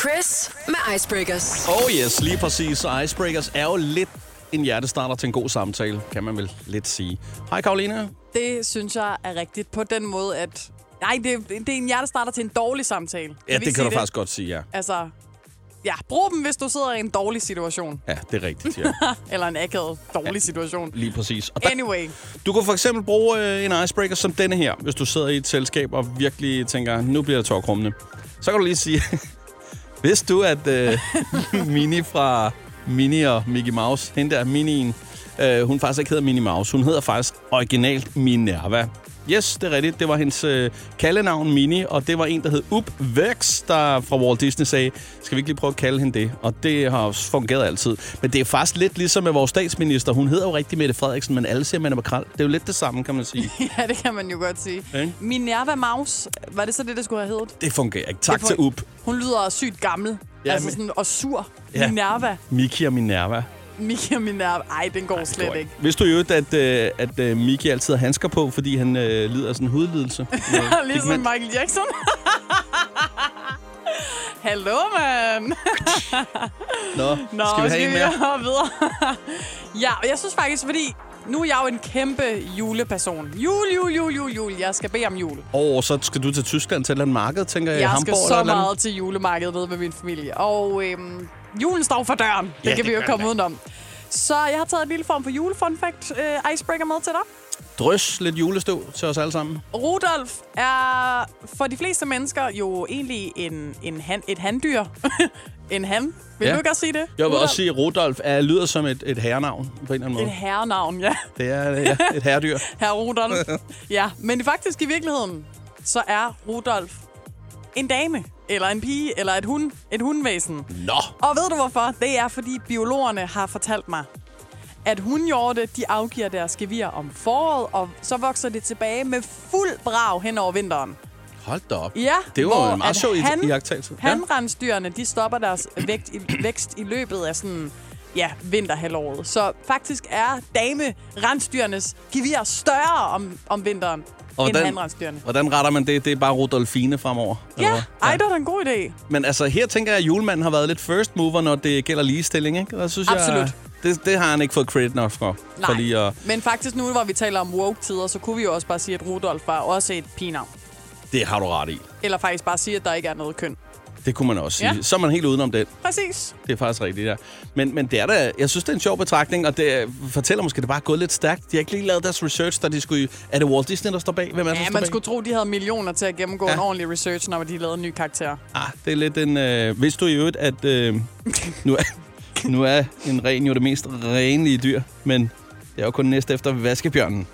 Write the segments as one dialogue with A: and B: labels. A: Chris med Icebreakers.
B: Oh yes, lige præcis. Og Icebreakers er jo lidt en hjertestarter til en god samtale, kan man vel lidt sige. Hej Karoline.
C: Det synes jeg er rigtigt på den måde, at... Nej, det, det er en hjertestarter til en dårlig samtale.
B: Ja, det
C: vi sige
B: kan du faktisk godt sige, ja.
C: Altså, ja, brug dem, hvis du sidder i en dårlig situation.
B: Ja, det er rigtigt, ja.
C: Eller en akavet dårlig situation.
B: Lige præcis. Og der,
C: Anyway,
B: du kan for eksempel bruge øh, en icebreaker som denne her, hvis du sidder i et selskab og virkelig tænker, nu bliver det tårkrummende. Så kan du lige sige, vidste du, at øh, Mini fra Mini og Mickey Mouse, hende der Minien, øh, hun faktisk ikke hedder Minnie Mouse, hun hedder faktisk originalt Minerva. Yes, det er rigtigt. Det var hendes øh, kaldenavn Mini, og det var en, der hed Up Vex, der fra Walt Disney sagde, skal vi ikke lige prøve at kalde hende det? Og det har også fungeret altid. Men det er faktisk lidt ligesom med vores statsminister. Hun hedder jo rigtig Mette Frederiksen, men alle siger, man er makrel. Det er jo lidt det samme, kan man sige.
C: ja, det kan man jo godt sige.
B: Ikke?
C: Minerva Maus, var det så det, det skulle have heddet?
B: Det fungerer ikke. Tak
C: Det
B: til
C: fun-
B: Up,
C: Hun lyder sygt gammel.
B: Ja,
C: Ja, altså
B: men-
C: sådan, og sur.
B: Ja.
C: Ja. Minerva.
B: Miki og Minerva.
C: Mika Minerva. Ej, den går Ej, slet
B: Tror jeg
C: ikke.
B: Vidste du jo, at, øh, at øh, Miki altid har handsker på, fordi han øh, lider af sådan en hudlidelse? Noget
C: ligesom
B: pigment.
C: Michael Jackson. Hallo, mand.
B: Nå, Nå, skal vi have en mere?
C: mere? videre? ja, og jeg synes faktisk, fordi nu er jeg jo en kæmpe juleperson. Jul, jul, jul, jul, jul. Jeg skal bede om jul.
B: Og oh, så skal du til Tyskland til et eller andet marked, tænker jeg, i
C: Jeg
B: Hamburg
C: skal
B: eller et
C: så
B: eller andet?
C: meget til julemarkedet nede med min familie. Og øhm, julen står for døren. Det
B: Ja,
C: kan
B: det
C: vi jo
B: gør
C: komme
B: den.
C: udenom. Så jeg har taget en lille form for julefun fact øh, icebreaker med til dig.
B: Drys lidt julestøv til os alle sammen.
C: Rudolf er for de fleste mennesker jo egentlig en, en han, et handdyr. en han. Vil
B: Ja.
C: du ikke også sige det?
B: Jeg vil
C: Rudolf?
B: også sige, at Rudolf er, lyder som et, et herrenavn på en eller anden måde.
C: Et herrenavn, ja.
B: Det er øh, ja, et herredyr.
C: Herre Rudolf. ja, men faktisk i virkeligheden, så er Rudolf en dame, eller en pige, eller et hund, et hundvæsen.
B: Nå,
C: Og ved du hvorfor? Det er, fordi biologerne har fortalt mig, at hundhjorte, de afgiver deres gevir om foråret, og så vokser det tilbage med fuld brag hen over vinteren.
B: hold da op.
C: Ja,
B: det var
C: hvor
B: jo en meget
C: at
B: sjov i-
C: han-
B: iagttagelse. Ja.
C: Hanrensdyrene, de stopper deres vægt i, vækst i løbet af sådan ja, vinterhalvåret. Så faktisk er dame-rensdyrenes gevir større om, om vinteren end hanrensdyrene.
B: hvordan retter man det? Det er bare Rudolfine fremover. eller
C: Ja,
B: hvad?
C: ej, det er da en god idé.
B: Men altså, her tænker jeg, at julemanden har været lidt first mover, når det gælder ligestilling, ikke? Der synes
C: Absolut.
B: Jeg, det, det har han ikke fået credit nok for.
C: Nej,
B: For lige at,
C: men faktisk nu, hvor vi taler om woke-tider, så kunne vi jo også bare sige, at Rudolf var også et pigenavn.
B: det har du ret i.
C: Eller faktisk bare sige, at der ikke er noget køn.
B: Det kunne man også sige. Ja.
C: Ja.
B: Så er man helt udenom den.
C: Præcis.
B: Det er faktisk rigtigt, ja. Men, men det er da, jeg synes, det er en sjov betragtning, og det øh, fortæller måske, at det bare er gået lidt stærkt. De har ikke lige lavet deres research, da de skulle... i- Er det Walt Disney, der står bag? Hvem er det, der
C: Ja,
B: står
C: man
B: bag?
C: skulle tro, de havde millioner til at gennemgå
B: Ja.
C: ja. en ordentlig research, når de lavede en ny karakter.
B: Ah, det er lidt en... Øh, vidste du i øvrigt, at øh, nu, er, nu er en ren jo det mest renlige dyr, men det er jo kun næst efter vaskebjørnen.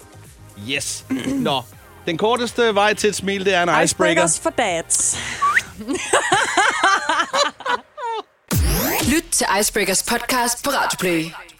B: Yes! Nå, den korteste vej til et smil, det er en icebreaker.
C: Icebreakers for dads.
A: Lyt til Icebreakers podcast på Radioplay.